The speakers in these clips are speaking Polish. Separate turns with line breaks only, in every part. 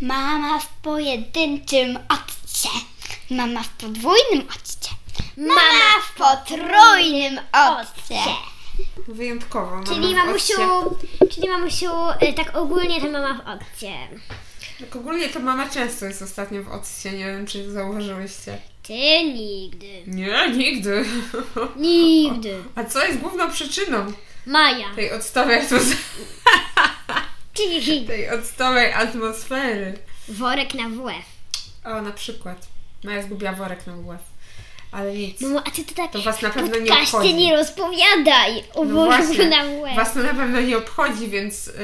Mama w pojedynczym odcie. Mama w podwójnym odcie. Mama w potrójnym odcie.
Wyjątkowo. mama
Czyli
w
mamusiu,
odcie.
czyli mamusiu, y, tak ogólnie to mama w odcie.
Tak ogólnie to mama często jest ostatnio w odcie, nie wiem czy zauważyłyście.
Ty nigdy.
Nie, nigdy.
Nigdy.
A co jest główną przyczyną
Maja.
tej odstałej atmosfery?
Czyli
Tej odstałej atmosfery.
worek na WF.
O, na przykład. Maja zgubiła worek na łeb. Ale nic.
Mamo, a ty to tak
To was na pewno nie
podcaście
obchodzi.
nie rozpowiadaj o
No
worku
właśnie.
na WF.
Was to na pewno nie obchodzi, więc y,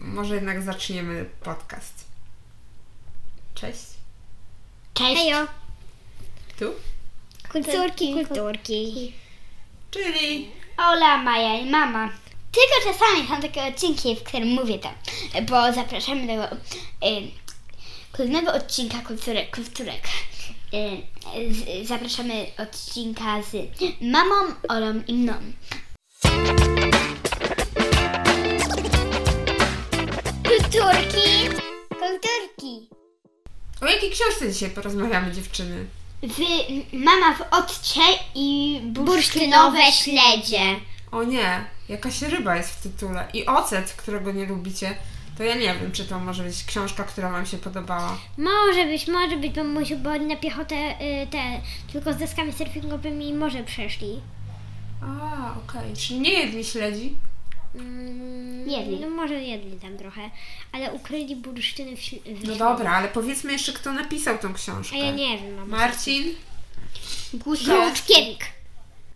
może jednak zaczniemy podcast. Cześć.
Cześć. Hejo.
Tu?
Kulturki, kulturki.
Czyli
Ola, Maja i mama. Tylko czasami są takie odcinki, w którym mówię to, bo zapraszamy do y, kolejnego odcinka Kulturek, Kulturek. Y, z, zapraszamy odcinka z mamą, Olą i mną.
Kulturki.
Kulturki.
o jakiej książce dzisiaj porozmawiamy, dziewczyny?
Wy, mama w odcie i bursztynowe śledzie.
O nie, jakaś ryba jest w tytule. I ocet, którego nie lubicie. To ja nie wiem, czy to może być książka, która Wam się podobała.
Może być, może być, bo musiał, bo oni na piechotę y, te tylko z deskami surfingowymi może przeszli.
A, okej. Czyli nie jedli śledzi?
Mm,
Jedli.
No może jedli tam trochę, ale ukryli bursztyny w, śl- w
No
śl-
dobra, ale powiedzmy jeszcze, kto napisał tą książkę.
A ja nie wiem, no. mamo.
Marcin?
Grudkiewicz.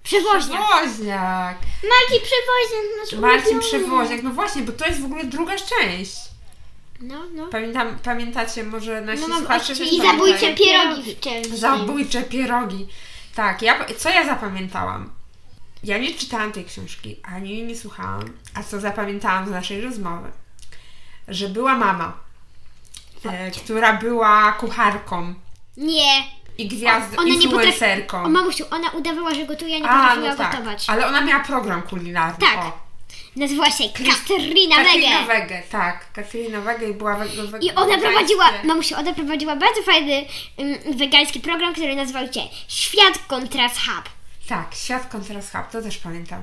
Przewoźnia.
Przewoźniak!
Marcin Przewoźniak,
No
nasz
Marcin
ulubiony.
Przewoźniak. No właśnie, bo to jest w ogóle druga część.
No, no.
Pamiętam, pamiętacie może nasi
No mam
słuchacze? też
I zabójcze
pamiętają.
pierogi w czymś.
Zabójcze pierogi. Tak, ja, co ja zapamiętałam? Ja nie czytałam tej książki, ani jej nie słuchałam, a co zapamiętałam z naszej rozmowy? Że była mama, e, która była kucharką
Nie.
i gwiazd,
Ona nie potrafi...
influencerką.
O mamusiu, ona udawała, że gotuje, a nie
a,
potrafiła
no tak,
gotować.
ale ona miała program kulinarny.
Tak.
O,
Nazywała się
Katrina
Katarina Wege.
Wege, tak. Katrina Wege i była wege, wege,
I ona prowadziła,
wegańskie.
mamusiu, ona prowadziła bardzo fajny um, wegański program, który nazywał się Świat Kontrast Hub.
Tak, Świat Kontrast Hub, to też pamiętam.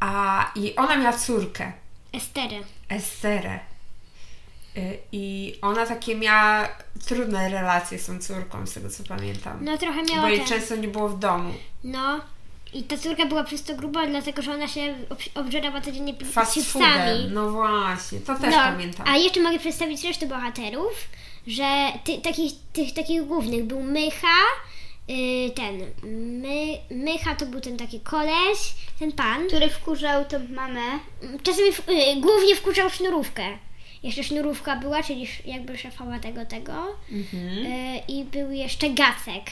A, I ona miała córkę.
Estery.
Esterę. Y, I ona takie miała trudne relacje z tą córką, z tego co pamiętam.
No trochę
bo
miała
jej
ten.
często nie było w domu.
No. I ta córka była przez to gruba, dlatego że ona się ob- obżerała codziennie pi-
Fast
chipsami.
foodem. No właśnie, to też
No,
pamiętam.
A jeszcze mogę przedstawić resztę bohaterów, że ty, takich, tych takich głównych był Mycha, y, ten, my, Mycha to był ten taki koleś, ten pan,
Który wkurzał tą mamę.
czasami w, y, głównie wkurzał sznurówkę. Jeszcze sznurówka była, czyli sz- jakby szefowa tego, tego.
Mhm.
Y, I był jeszcze Gacek.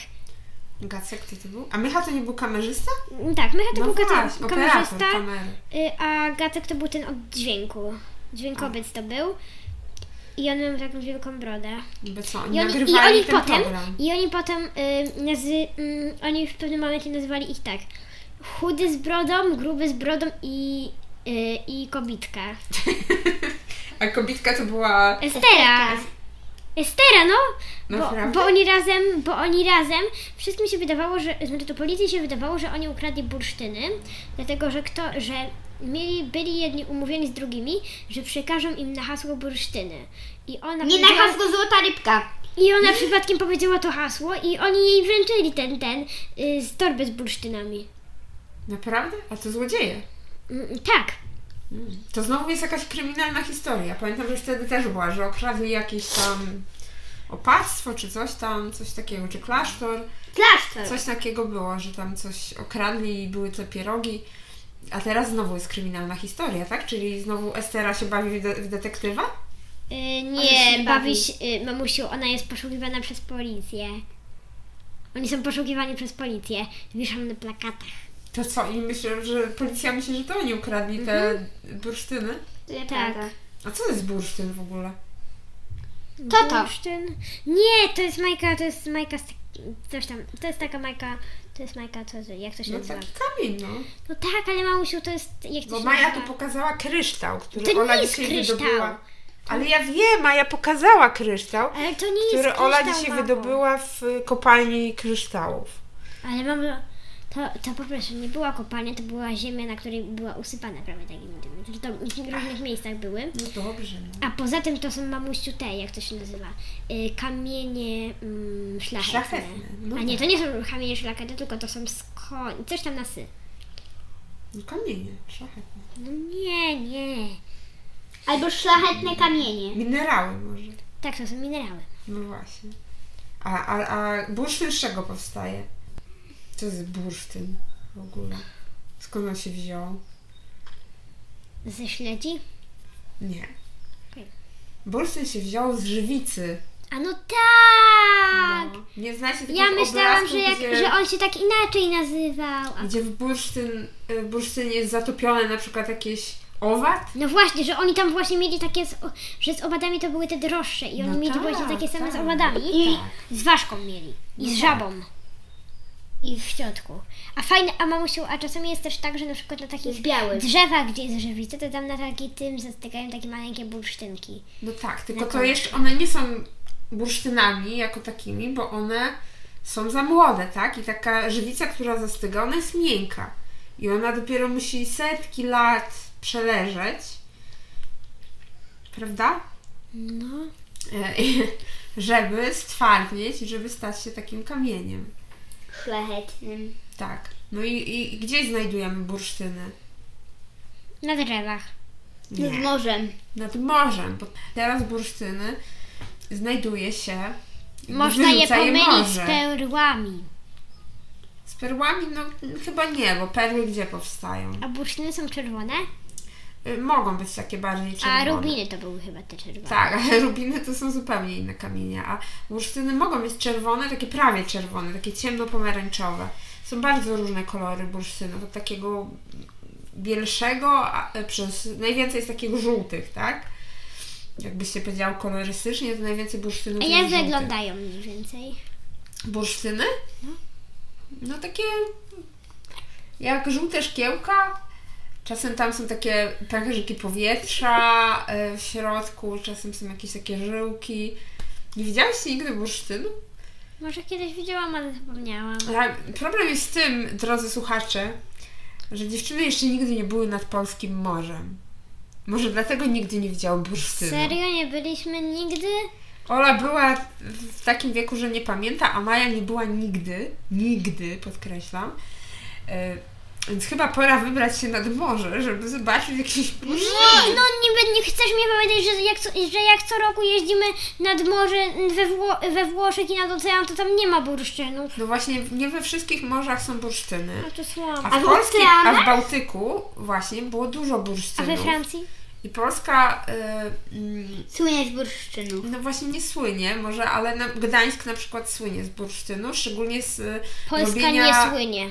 Gacek, kto to był? A Micha to nie był kamerzysta?
Mm, Tak, Mycha to
No
był
właśnie,
Gacek,
operator
kamerzysta,
kamery.
y, a Gacek to był ten od dźwięku. Dźwiękowiec to był. I on miał taką wielką brodę.
Bo co, oni
I oni, i
nagrywali
oni
ten
potem,
program.
i oni potem, y, nazy, mm, oni w pewnym momencie nazywali ich tak, chudy z brodą, gruby z brodą i, y, i kobitka.
A kobitka to była...
Estera!
Tak.
Estera, no! Bo,
Naprawdę?
bo oni razem, bo oni razem, wszystkim się wydawało, że, znaczy to policji się wydawało, że oni ukradli bursztyny, dlatego że kto, że mieli, byli jedni umówieni z drugimi, że przekażą im na hasło bursztyny. I ona
Nie na
powiedziała-
hasło złota rybka.
i ona przypadkiem powiedziała to hasło i oni jej wręczyli ten, ten y, z torby z bursztynami.
Naprawdę? A to złodzieje.
Mm, tak.
To znowu jest jakaś kryminalna historia. Pamiętam, że wtedy też była, że okradli jakieś tam opactwo czy coś tam, coś takiego, czy klasztor.
Klasztor.
Coś takiego było, że tam coś okradli i były te pierogi. A teraz znowu jest kryminalna historia, tak? Czyli znowu Estera się bawi w, de- w detektywa?
Y,
się
nie,
bawi.
bawi się, y, mamusiu, ona jest poszukiwana przez policję. Oni są poszukiwani przez policję. Wiszą na plakatach.
To co? I myślę, że policja myśli, że to oni ukradli te
Mhm.
bursztyny.
tak.
A co to jest bursztyn w ogóle? No
To to.
Bursztyn. Nie, to jest Majka, to jest Majka z... tak, Coś tam, to jest taka Majka, to jest Majka, co, jak to się
No
nazywa?
taki kamień, no.
No tak, ale mamusiu, to jest, jak to
Bo
się
Maja
nazywa?
tu pokazała kryształ, który
To nie
Ola
jest
dzisiaj
kryształ.
wydobyła. Ale ja wiem, Maja pokazała kryształ,
Ale to nie jest
który Ola
kryształ,
dzisiaj
mamo.
wydobyła w kopalni kryształów.
Ale mam. To, to po prostu nie była kopalnia, to była ziemia, na której była usypana prawie takimi tymi. Że to w różnych miejscach były.
No dobrze, no.
A poza tym to są mamuściu te, jak to się nazywa, y, kamienie mm, szlachetne.
Szlachetne, no
A nie,
tak.
to nie są kamienie szlachetne, tylko to są skoń, coś tam na sy.
No kamienie, szlachetne.
No nie, nie.
Albo szlachetne kamienie.
Minerały może.
Tak, to są minerały.
No właśnie. A, a, a bursztyn z czego powstaje? Co jest bursztyn w ogóle? Skąd on się wziął?
Ze śledzi?
Nie. Bursztyn się wziął z żywicy.
A no tak!
No. Nie znacie takich
Ja myślałam,
obrazków,
że, jak,
gdzie,
że on się tak inaczej nazywał. A,
gdzie w, bursztyn, w bursztynie jest zatopione na przykład jakieś owad?
no właśnie, że oni tam właśnie mieli takie, z, o- że z owadami to były te droższe i oni
No
mieli
tak,
właśnie takie same z
tak.
owadami.
Tak.
I z ważką mieli. I z żabą. I w środku. A fajne, a mamusiu, a czasami jest też tak, że na przykład na takich
Z białym.
drzewach, gdzie jest żywica, to tam na taki tym zastykają takie maleńkie bursztynki.
No tak, tylko
Jako-
to jeszcze one nie są bursztynami jako takimi, bo one są za młode, tak? I taka żywica, która zastyga, ona jest miękka. I ona dopiero musi setki lat przeleżeć. Prawda?
No.
E, żeby stwardnieć i żeby stać się takim kamieniem.
Szlachetnym.
Tak. No i, i gdzie znajdujemy bursztyny?
Na drzewach.
Z
Nie.
morzem.
Nad morzem, bo teraz bursztyny znajduje się.
Można je
wyrzuca
pomylić z
No morze.
perłami.
Z perłami? No chyba nie, bo perły gdzie powstają?
A bursztyny są czerwone,
Y, Mogą być takie bardziej czerwone.
a rubiny to były chyba te czerwone.
Tak, ale rubiny to są zupełnie inne kamienie, a bursztyny mogą być czerwone, takie prawie czerwone, takie ciemno-pomarańczowe. Są bardzo różne kolory bursztynów, od takiego bielszego, a, e, przez najwięcej jest takich żółtych, tak? Jakbyś się powiedział kolorystycznie, to najwięcej bursztynów
A
jest
jak
żółtych.
wyglądają mniej więcej?
Bursztyny? No takie jak żółte szkiełka. Czasem tam są takie pęcherzyki powietrza e, w środku, czasem są jakieś takie żyłki. Nie widziałaś nigdy bursztynu?
Może kiedyś widziałam, ale zapomniałam.
A Problem jest z tym, drodzy słuchacze, że dziewczyny jeszcze nigdy nie były nad polskim morzem. Może dlatego nigdy nie widziały bursztynu.
Serio, nie byliśmy nigdy?
Ola była w takim wieku, że nie pamięta, a Maja nie była nigdy, nigdy, podkreślam. E, Więc chyba pora wybrać się nad morze, żeby zobaczyć jakieś bursztyn.
No niby nie chcesz mi powiedzieć, że jak, co- że jak co roku jeździmy nad morze mm, we, Wło- we Włoszech i nad ocean, to tam nie ma bursztynów.
No właśnie, nie we wszystkich morzach są bursztyny.
No to słabo.
A
A
w
w, Polsce, a
oceanach?
w Bałtyku właśnie było dużo
A we
bursztynów.
Francji?
I Polska, e, mm,
Słynie z bursztynu.
no właśnie nie słynie może, ale na, Gdańsk na przykład słynie z bursztynu, szczególnie z e,
Polska
robienia...
nie słynie.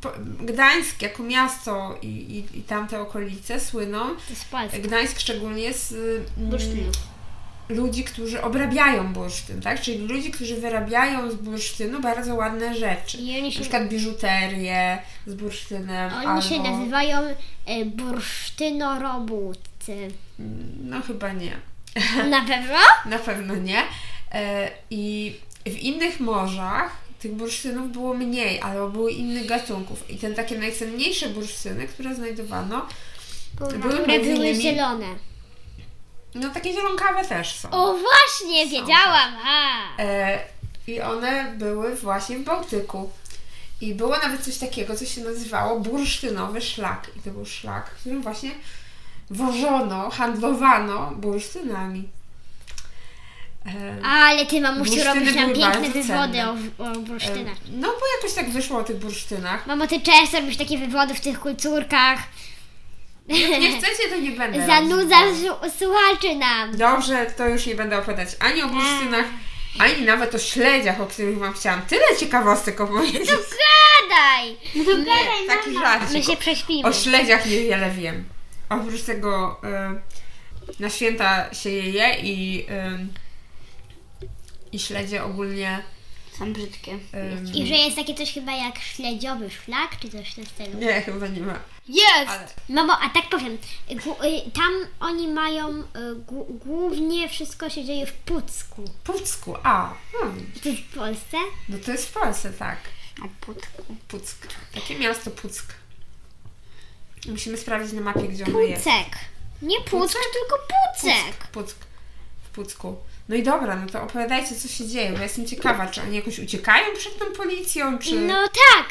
Po- Gdańsk jako miasto i, i, i tamte okolice słyną.
To jest Polska.
Gdańsk szczególnie z y, mm,
Bursztynu.
ludzi, którzy obrabiają bursztyn, tak? Czyli ludzi, którzy wyrabiają z bursztynu bardzo ładne rzeczy.
I oni
Na
się,
przykład biżuterię z bursztynem. albo...
oni się nazywają e, bursztynorobótcy.
No chyba nie.
Na pewno?
Na pewno nie. E, I w innych morzach tych bursztynów było mniej, albo były innych gatunków. I te takie najcenniejsze bursztyny, które znajdowano, Były
Które
między
były
innymi-
zielone.
no takie zielonkawe też są.
O właśnie, wiedziałam! A.
E, I one były właśnie w Bałtyku. I było nawet coś takiego, co się nazywało bursztynowy szlak. I to był szlak, którym właśnie wożono, handlowano bursztynami. E,
Ale ty mamusiu
Bursztyny
robisz nam
były
piękne
bardzo
wywody
cenne.
o, o bursztynach.
no bo jakoś tak wyszło o tych bursztynach.
Mamo, ty często robisz takie wywody w tych kulturkach.
Nie chcecie, to nie będę.
Zanudzasz
robić.
żu- słuchaczy nam.
Dobrze, to już nie będę opowiadać ani o bursztynach,
Mm.
ani nawet o śledziach, o których Wam chciałam tyle ciekawostek opowiedzieć.
Gadaj!
No to gadaj,
Taki
mama.
żarcik.
No My się prześpimy.
O śledziach niewiele wiem. Oprócz tego y, na święta się je je i, y, i śledzie ogólnie y,
Są brzydkie.
Ym,
I że jest takie coś chyba jak śledziowy szlak, czy coś w tym stylu.
nie, chyba nie ma.
Jest!
Ale
Mamo, a tak powiem, gł- y, tam oni mają, y, gł- głównie wszystko się dzieje w Pucku.
Pucku, a, hmm,
To jest w Polsce?
no to jest w Polsce, tak.
O putku.
Puck. Takie miasto Puck. Musimy sprawdzić na mapie, gdzie ono jest.
Pucek. Nie Puck, tylko Pucek.
Puck. W Pucku. No i dobra, no to opowiadajcie, co się dzieje, bo jestem ciekawa, czy oni jakoś uciekają przed tą policją, czy...
No tak,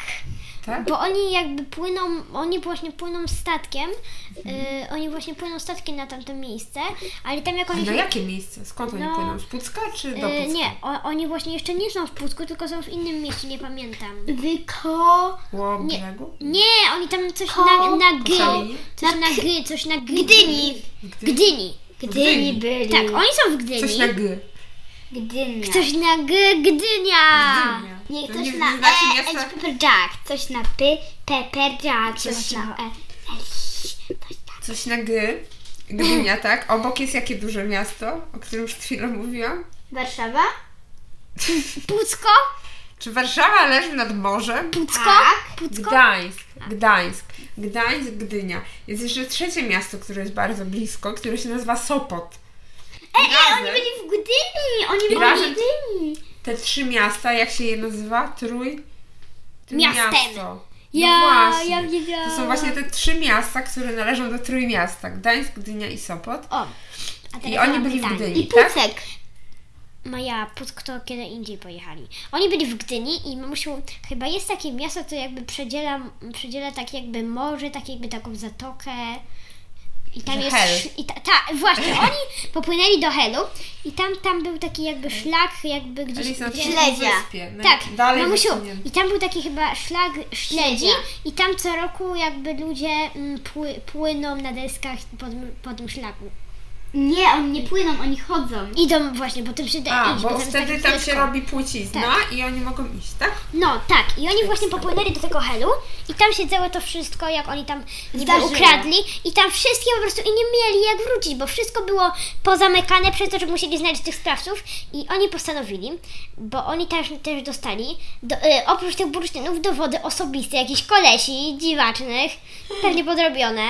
tak?
bo oni jakby płyną, oni właśnie płyną statkiem, y, oni właśnie płyną statkiem na tamto miejsce, ale tam jak
A
oni
na
się
jakie miejsce? Skąd oni
No.
płyną? Z Pucka czy No do
Y,
Pucka?
nie, o, oni właśnie jeszcze nie są w Pucku, tylko są w innym mieście, nie pamiętam.
Wyko...
Ło
nie.
brzegu?
Nie, oni tam coś
Ko-
na, na G,
Koszalinie?
coś na G, coś na G.
Gdyni.
Gdyni.
Gdyni
Gdyni.
byli.
Tak, oni są w Gdyni.
Coś na G.
Gdynia.
Coś na G, Gdynia.
Gdynia.
Nie,
To
ktoś
nie- nie
na
znaczy
e,
miasta-
Edge Pepper Jack, coś na P, Pepper Jack, coś na E.
Coś na G. Gdynia, tak? Obok jest jakie duże miasto, o którym przed chwilą mówiłam?
Warszawa?
Pucko?
Czy Warszawa leży nad morzem?
Pucko?
Tak.
Pucko?
Gdańsk, Gdańsk, Gdańsk, Gdynia. Jest jeszcze trzecie miasto, które jest bardzo blisko, które się nazywa Sopot.
Ej, ej,
Razem.
oni byli w Gdyni! Oni
I
byli
razem-
w Gdyni!
Te trzy miasta, jak się je nazywa? Trój?
Miastem.
Miasto. No
Ja-
właśnie.
ja wiedziałam.
To są właśnie te trzy miasta, które należą do Trójmiasta. Gdańsk, Gdynia i Sopot.
O. A teraz
I oni
mam
byli w
pytanie.
I
Gdyni, tak?
Pucek.
Maja, Puck to kiedy indziej pojechali. Oni byli w Gdyni i mamusiu, chyba jest takie miasto, co jakby przedziela, przedziela tak jakby morze, tak jakby taką zatokę. I tam
Że
jest.
Hel.
sz- I ta, ta, właśnie, oni popłynęli do Helu i tam, tam był taki jakby szlak, jakby gdzieś.
Byli na
gdzie-
Śledzia.
Wyspie. No i
tak,
dalej
mamusiu,
wysunięte.
i tam był taki chyba szlak śledzi i tam co roku jakby ludzie mm, pły, płyną na deskach po, tym- po tym szlaku.
Nie, oni nie płyną, oni chodzą.
Idą właśnie po tym szlaku.
A,
iść,
bo
tam jest
wtedy
takie
tam się
wszystko.
robi płcizna i oni mogą iść, tak?
No tak, i oni właśnie popłynęli do tego helu i tam się całe to wszystko, jak oni tam niby
Zdarzyło.
ukradli i tam wszystkie po prostu i nie mieli jak wrócić, bo wszystko było pozamykane przez to, że musieli znaleźć tych sprawców i oni postanowili, bo oni też, też dostali, do, y, oprócz tych bursztynów, dowody osobiste, jakichś kolesi dziwacznych, pewnie podrobione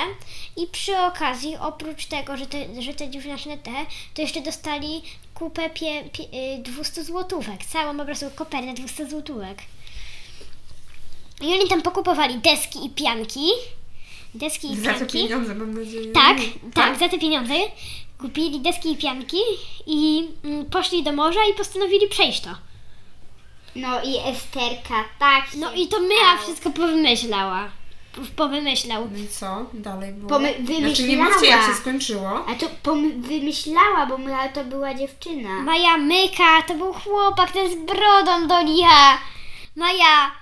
i przy okazji, oprócz tego, że te, że te dziwaczne te, to jeszcze dostali kupę pie, pie, y, 200 złotówek, całą po prostu kopernę 200 złotówek. I oni tam pokupowali deski i pianki. Deski i
Za te
pianki.
pieniądze, Mm, mam nadzieję.
Tak, tak, za te pieniądze. Kupili deski i pianki i mm, poszli do morza i postanowili przejść to.
No i Esterka, tak. się
No i to Myra
stało.
wszystko powymyślała. P- Powymyślał.
No i co? Dalej było?
Pomy-
znaczy nie
wymyślała.
mówcie jak się skończyło.
A to pom- wymyślała, bo Mila to była dziewczyna.
Maja Myka, to był chłopak, ten z brodą do licha. Maja...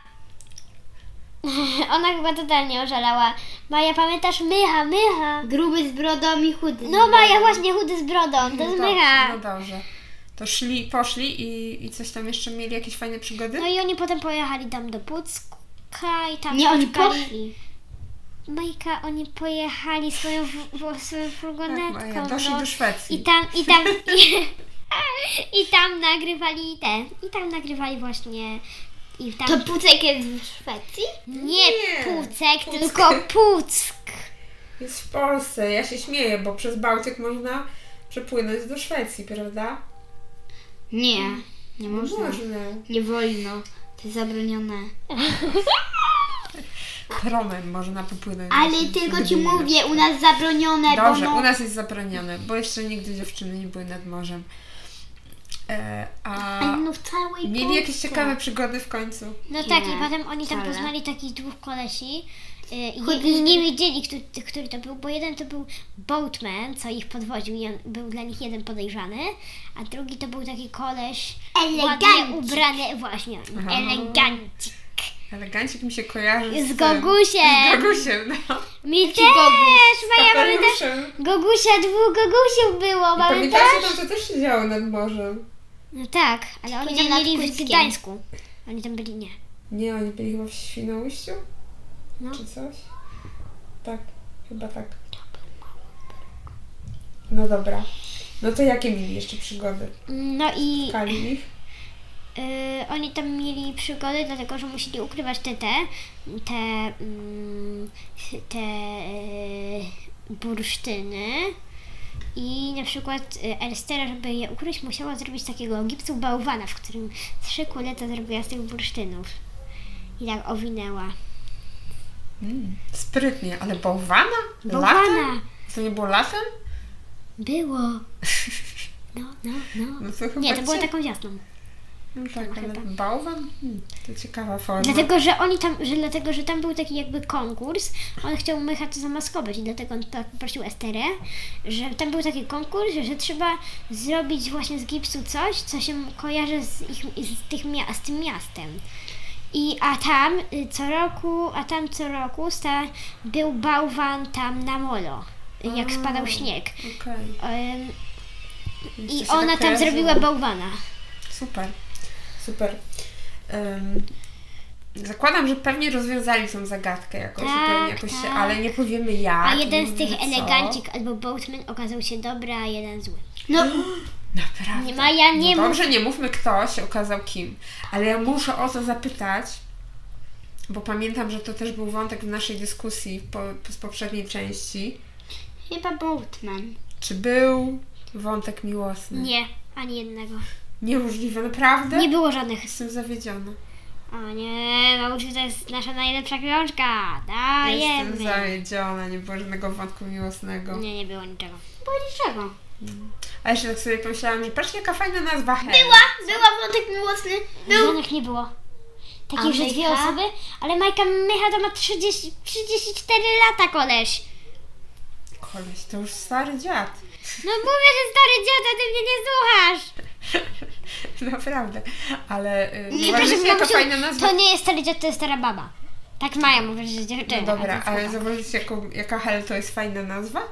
Ona chyba totalnie oszalała. Maja, pamiętasz? Mycha, Mycha.
Gruby z brodą i chudy. z
No Maja,
brodą.
właśnie chudy z brodą, to jest
dobrze,
Mycha.
No dobrze. To szli, poszli i, i coś tam jeszcze mieli, jakieś fajne przygody?
No i oni potem pojechali tam do Pucka i tam
Nie, oni
spotkali-
poszli.
Majka, oni pojechali swoją, w, w, swoją furgonetką.
Tak, Maja, doszli
no.
do Szwecji.
I tam, i tam, i, i tam nagrywali te, i tam nagrywali właśnie, i tam,
To Pucek jest w Szwecji?
nie
Nie,
Pucek,
Puck.
tylko Puck.
Jest w Polsce, ja się śmieję, bo przez Bałtyk można przepłynąć do Szwecji, prawda?
Nie, nie można.
Można.
Nie wolno. To jest zabronione.
Promem można popłynąć. do
Ale
Szwecji,
tylko
do
ci
Gdyni.
mówię, u nas zabronione, bo
Dobrze,
no...
u nas jest zabronione, bo jeszcze nigdy dziewczyny nie były nad morzem. E, a
Ale no w całej
mieli
Polsce.
jakieś ciekawe przygody w końcu?
No tak,
Nie,
i potem oni tam
wcale.
poznali takich dwóch kolesi y, i,
Chodzi-
i nie wiedzieli, który, który to był, bo jeden to był boatman, co ich podwoził i on był dla nich jeden podejrzany, a drugi to był taki koleś ładnie
Elegancik.
ubrany, właśnie,
Aha.
elegancik.
Elegancik mi się kojarzy z,
Z Gogusiem.
Z Gogusiem, no.
Mi
Taki Gogus.
też, Maja, mamy też
Kapeluszem.
Gogusia, dwóch Gogusiów było, mamy
Pamiętacie,
też.
tam to też się działo nad morzem.
No tak, ale oni
Później
tam
nad
byli w
Puckiem.
Gdańsku. Oni tam byli, nie.
Nie, oni byli chyba w Świnoujściu?
No.
Czy coś? Tak, chyba tak. No dobra. No to jakie mieli jeszcze przygody?
No i
Kali ich?
Yy, oni tam mieli przygody, dlatego że musieli ukrywać te te, te, mm, te yy, bursztyny. I na przykład y, Elstera, żeby je ukryć, musiała zrobić takiego gipsu bałwana, w którym trzy kuleta zrobiła z tych bursztynów. I tak owinęła.
Mm, sprytnie, ale bałwana? Latem?
Bałwana!
To nie było latem?
Było! No, no, no.
No to chyba
Nie, to było
cie-
taką jasną.
No tak, ale
chyba.
bałwan? Hmm, to ciekawa forma.
Dlatego, że oni tam, że dlatego, że tam był taki jakby konkurs, on chciał Mycha to zamaskować i dlatego on tak poprosił Esterę, że tam był taki konkurs, że trzeba zrobić właśnie z gipsu coś, co się kojarzy z, ich, z, tych mia- z tym miastem. I a tam y, co roku, a tam co roku sta, był bałwan tam na molo, y, jak
A,
spadał śnieg.
Okej.
Ym,
Więc to
I
się tak
ona tam
kojarzyło.
zrobiła bałwana.
Super, super. Em, zakładam, że pewnie rozwiązali tą zagadkę jakoś, i
Tak,
pewnie jakoś się,
tak.
ale nie powiemy jak.
A
nie
jeden z
powiemy
tych
Tak, no co.
elegancik albo boatman okazał się dobry, a jeden zły.
No,
Naprawdę.
Nie ma, ja nie
no
mam.
dobrze, nie mówmy kto się okazał kim, ale ja muszę o to zapytać, bo pamiętam, że to też był wątek w naszej dyskusji po, z poprzedniej części.
chyba Boatman.
Czy był wątek miłosny?
Nie, ani jednego.
Niemożliwe, naprawdę?
Nie było żadnych.
Jestem zawiedziona.
O nie, Małczy to jest nasza najlepsza książka.
Jestem
Dajemy.
zawiedziona, nie było żadnego wątku miłosnego.
Nie, nie było niczego.
Bo niczego.
A jeszcze tak sobie pomyślałam, że patrz jaka fajna nazwa Hel.
Była, była wątek miłosny. Był.
Żadnych nie było. Takich, że dwie
Majka?
osoby, ale Majka Mycha to ma 30, 34 lata, koleś.
Koleś, to już stary dziad.
No mówię, że stary dziada, ty mnie nie słuchasz.
Naprawdę. Ale y,
Nie,
zobaczycie
proszę,
jaka
mamusiu,
fajna nazwa.
To nie jest stary dziad, to jest stara baba. Tak Maja mówi, że dziewczyna.
No
a
dobra,
to
ale
chłopak.
zobaczycie jaką, jaka Hel to jest fajna nazwa?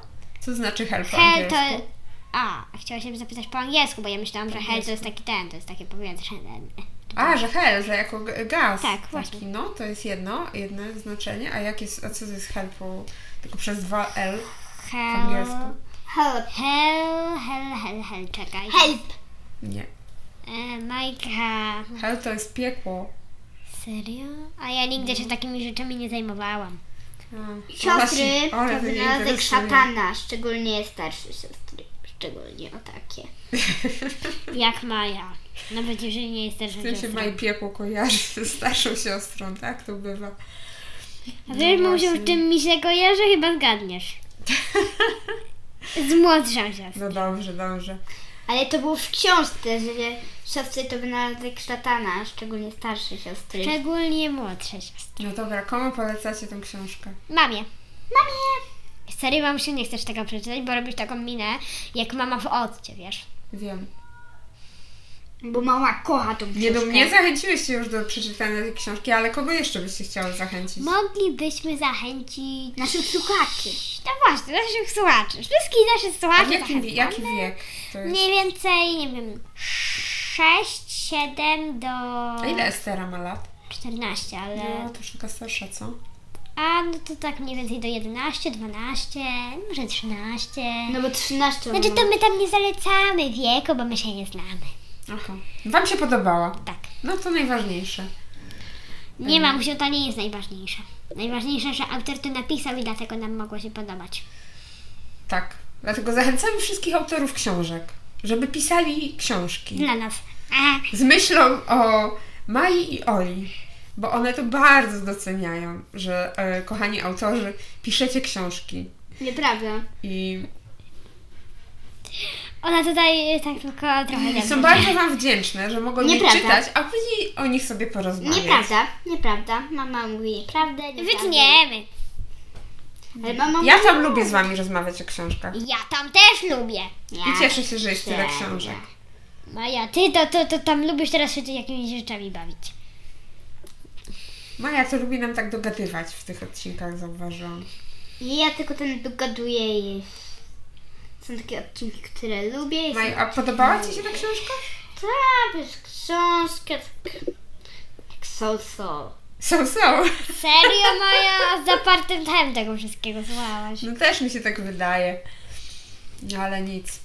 Co znaczy Hel po
Hel to...
angielsku?
A, chciała się zapytać po angielsku, bo ja myślałam, że hel to jest taki ten, to jest takie powiedzenie.
A, że Hel, że jako g- gaz.
Tak,
taki,
właśnie.
No, to jest jedno, jedno znaczenie. A jak jest, a co to jest Hel po, tylko przez dwa L po
Hel...
angielsku?
Help.
Hel, hel, hel, hel, czekaj.
Help.
Nie.
E, Majka.
Hel to jest piekło.
Serio? A ja nigdy się takimi rzeczami nie zajmowałam.
A,
Siostry
No właśnie,
to
ale to mnie
wynalazek
interesuje.
szatana, szczególnie starsze siostry. Szczególnie o takie.
Jak Maja. Nawet jeżeli nie jest też
W tym się ma i piekło kojarzy ze starszą siostrą, tak to bywa.
A wiesz,
No
no mówię,
właśnie.
w czym mi się kojarzy, chyba zgadniesz. Z młodszą siostrą.
No dobrze, dobrze.
Ale to było w książce, że siostry to wynalazek szatana, szczególnie starsze siostry.
Szczególnie młodsze siostry.
No dobra, komu polecacie tą książkę?
Mamie.
Mamie!
Serio, mam się nie chcesz tego przeczytać, bo robisz taką minę, jak mama w odcie, wiesz.
Wiem.
Bo mama kocha tą
Nie
książkę.
no, mnie zachęciłyście już do przeczytania tej książki, ale kogo jeszcze byście chciały zachęcić?
Moglibyśmy zachęcić...
Naszych słuchaczy.
No właśnie, naszych słuchaczy. Wszystkich naszych
A
słuchaczy
jaki, wie-
zachęcamy.
jaki wiek to jest?
Mniej więcej, nie wiem, 6, 7 do
A ile Estera ma lat?
14, ale.
No, to już taka starsza, co?
A no to tak mniej więcej do 11, 12, może 13.
No bo 13
Znaczy
mam.
to my tam nie zalecamy wieku, bo my się nie znamy.
Aha. Wam się podobała?
Tak.
No to najważniejsze.
Nie mam się to nie jest najważniejsze. Najważniejsze, że autor to napisał i dlatego nam mogło się podobać.
Tak. Dlatego zachęcamy wszystkich autorów książek, żeby pisali książki.
Dla nas. A,
z myślą o Mai i Oli, bo one to bardzo doceniają, że e, kochani autorzy, piszecie książki
Nieprawda.
i
ona tutaj y, tak tylko trochę
i są
dobrze.
bardzo Wam wdzięczne, że mogą je
Nieprawda.
czytać, a później o nich sobie porozmawiać.
Nieprawda, nieprawda. Mama mówi nieprawdę, nieprawdę.
Wytniemy.
Ale mama mówi...
Ja tam lubię z Wami rozmawiać o książkach
Ja tam też lubię.
i cieszę się, że jest tyle książek.
Maja, ty to, to, to tam lubisz teraz się jakimiś rzeczami bawić.
Maja to lubi nam tak dogadywać w tych odcinkach, zauważyłam.
I ja tylko ten dogaduję i... Są takie odcinki, które lubię i są
Maja, a podobała Ci się ta książka?
Tak, wiesz, książkę. Jak so, so.
Są, są.
Serio, Maja? Z zapartym tchem tego wszystkiego złałaś.
No też mi się tak wydaje. No ale nic.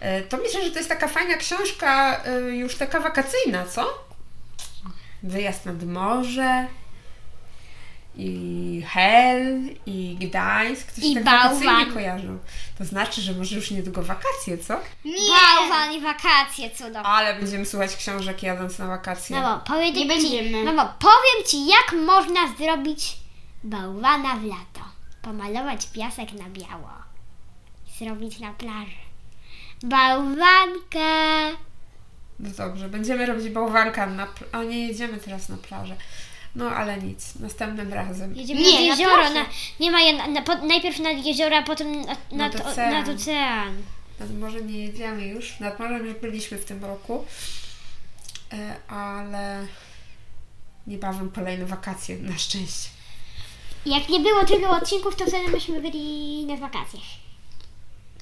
E, To myślę, że to jest taka fajna książka, e, już taka wakacyjna, co? wyjazd nad morze i Hel i Gdańsk. Coś
I
tak wakacyjnie
bałwan.
kojarzą. To znaczy, że może już niedługo wakacje, co?
Nie. Bałwan i wakacje cudowne.
Ale będziemy słuchać książek jadąc na wakacje.
No bo powiem
Nie
ci,
będziemy.
no bo powiem ci, jak można zrobić bałwana w lato. Pomalować piasek na biało. Zrobić na plaży. Bałwankę.
No dobrze, będziemy robić bałwanka na... Pl- a nie jedziemy teraz na plażę. No ale nic, następnym razem.
Jedziemy
Nie,
nad
na
jezioro.
plaży.
na, nie ma je, na, na, po, najpierw nad jezioro, a potem nad,
Nad
nad, nad,
ocean.
ocean. nad ocean.
Nad morze nie jedziemy już. Nad morzem już byliśmy w tym roku. E, ale niebawem kolejne wakacje, na szczęście.
Jak nie było tylu odcinków, to wtedy myśmy byli na wakacjach.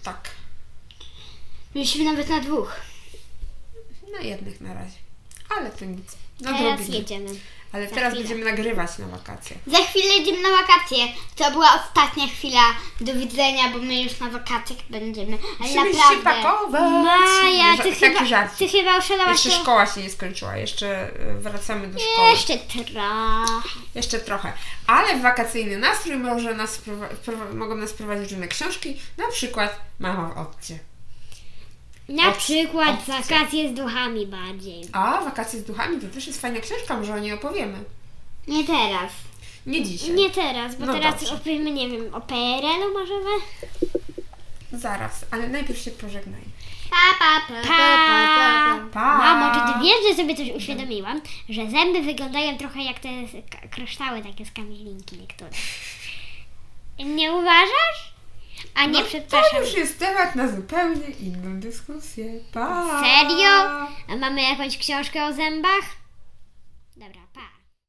Tak.
Byliśmy nawet na dwóch.
Na jednych na razie. Ale to nic.
No
Teraz
Nadrobimy.
jedziemy.
Ale teraz
chwilę. No
będziemy nagrywać na wakacje.
Za chwilę idziemy na wakacje. To była ostatnia chwila do widzenia, bo my już na wakacjach będziemy. Ale
Musimy się
naprawdę.
pakować.
Maja, ty
Taki
chyba,
żart.
ty chyba oszalałaś
Jeszcze
to-
szkoła się nie skończyła. Jeszcze e, wracamy do szkoły.
Jeszcze trochę.
Jeszcze trochę. Ale w wakacyjny nastrój może nas wprowa- wprowa- mogą nas prowadzić różne książki, na przykład Mama w Odcie.
Na
Obs-
przykład
obcy.
wakacje z duchami bardziej.
A, Wakacje z duchami to też jest fajna książka, może o niej opowiemy.
Nie teraz.
Nie dzisiaj.
Nie teraz, bo
No
teraz
dobrze.
opowiemy, nie wiem, o PRL-u możemy?
Zaraz, ale najpierw się pożegnaj.
Pa, pa, pa, pa, pa, pa, pa.
Pa!
Mamo, czy ty wiesz, że sobie coś uświadomiłam? Że zęby wyglądają trochę jak te s- k- kryształy takie z kamieninki niektóre. Nie uważasz? A nie,
No To
przepraszam.
już jest temat na zupełnie inną dyskusję. Pa!
Serio? A mamy jakąś książkę o zębach? Dobra, pa.